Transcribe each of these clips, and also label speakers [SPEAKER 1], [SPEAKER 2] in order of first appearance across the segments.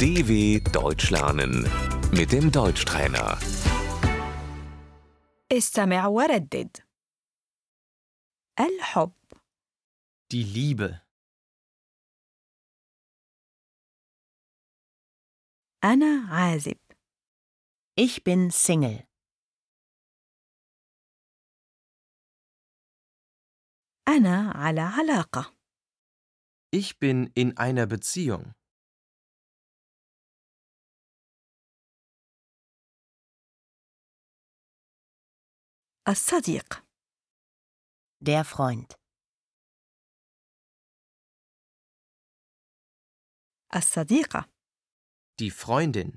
[SPEAKER 1] DW Deutsch lernen mit dem Deutschtrainer.
[SPEAKER 2] استمع وردد الحب
[SPEAKER 3] Die Liebe.
[SPEAKER 2] أنا عازب
[SPEAKER 4] Ich bin Single.
[SPEAKER 2] أنا على علاقة
[SPEAKER 3] Ich bin in einer Beziehung.
[SPEAKER 2] الصديق
[SPEAKER 4] Der Freund.
[SPEAKER 2] الصديقة
[SPEAKER 3] Die Freundin.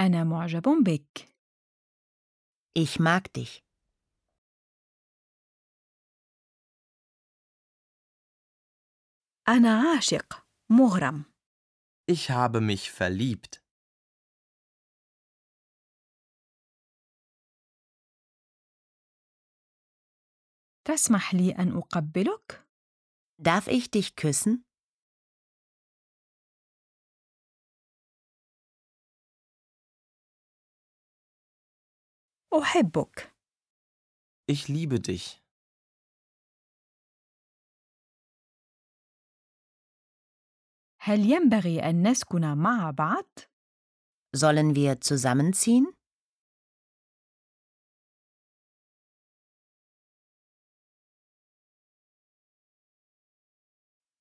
[SPEAKER 2] أنا معجب بك
[SPEAKER 4] Ich mag dich.
[SPEAKER 2] أنا عاشق مغرم
[SPEAKER 3] Ich habe mich verliebt.
[SPEAKER 2] تسمح لي أن أقبلك؟
[SPEAKER 4] Darf ich dich küssen?
[SPEAKER 2] أحبك
[SPEAKER 3] Ich liebe dich.
[SPEAKER 2] هل ينبغي أن نسكن مع بعض؟
[SPEAKER 4] Sollen wir zusammenziehen?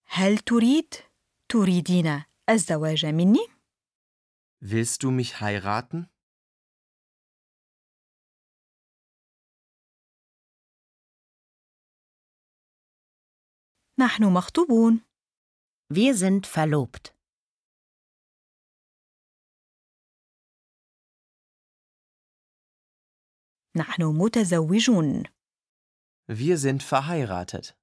[SPEAKER 2] هل تريد تريدين الزواج مني؟
[SPEAKER 3] Willst du mich heiraten?
[SPEAKER 2] نحن مخطوبون
[SPEAKER 4] Wir sind verlobt.
[SPEAKER 2] نحن متزوجون
[SPEAKER 3] Wir sind verheiratet.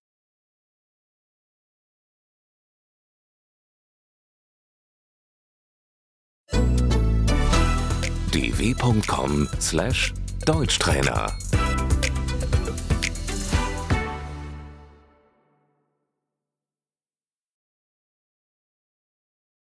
[SPEAKER 1] dw.com/deutschtrainer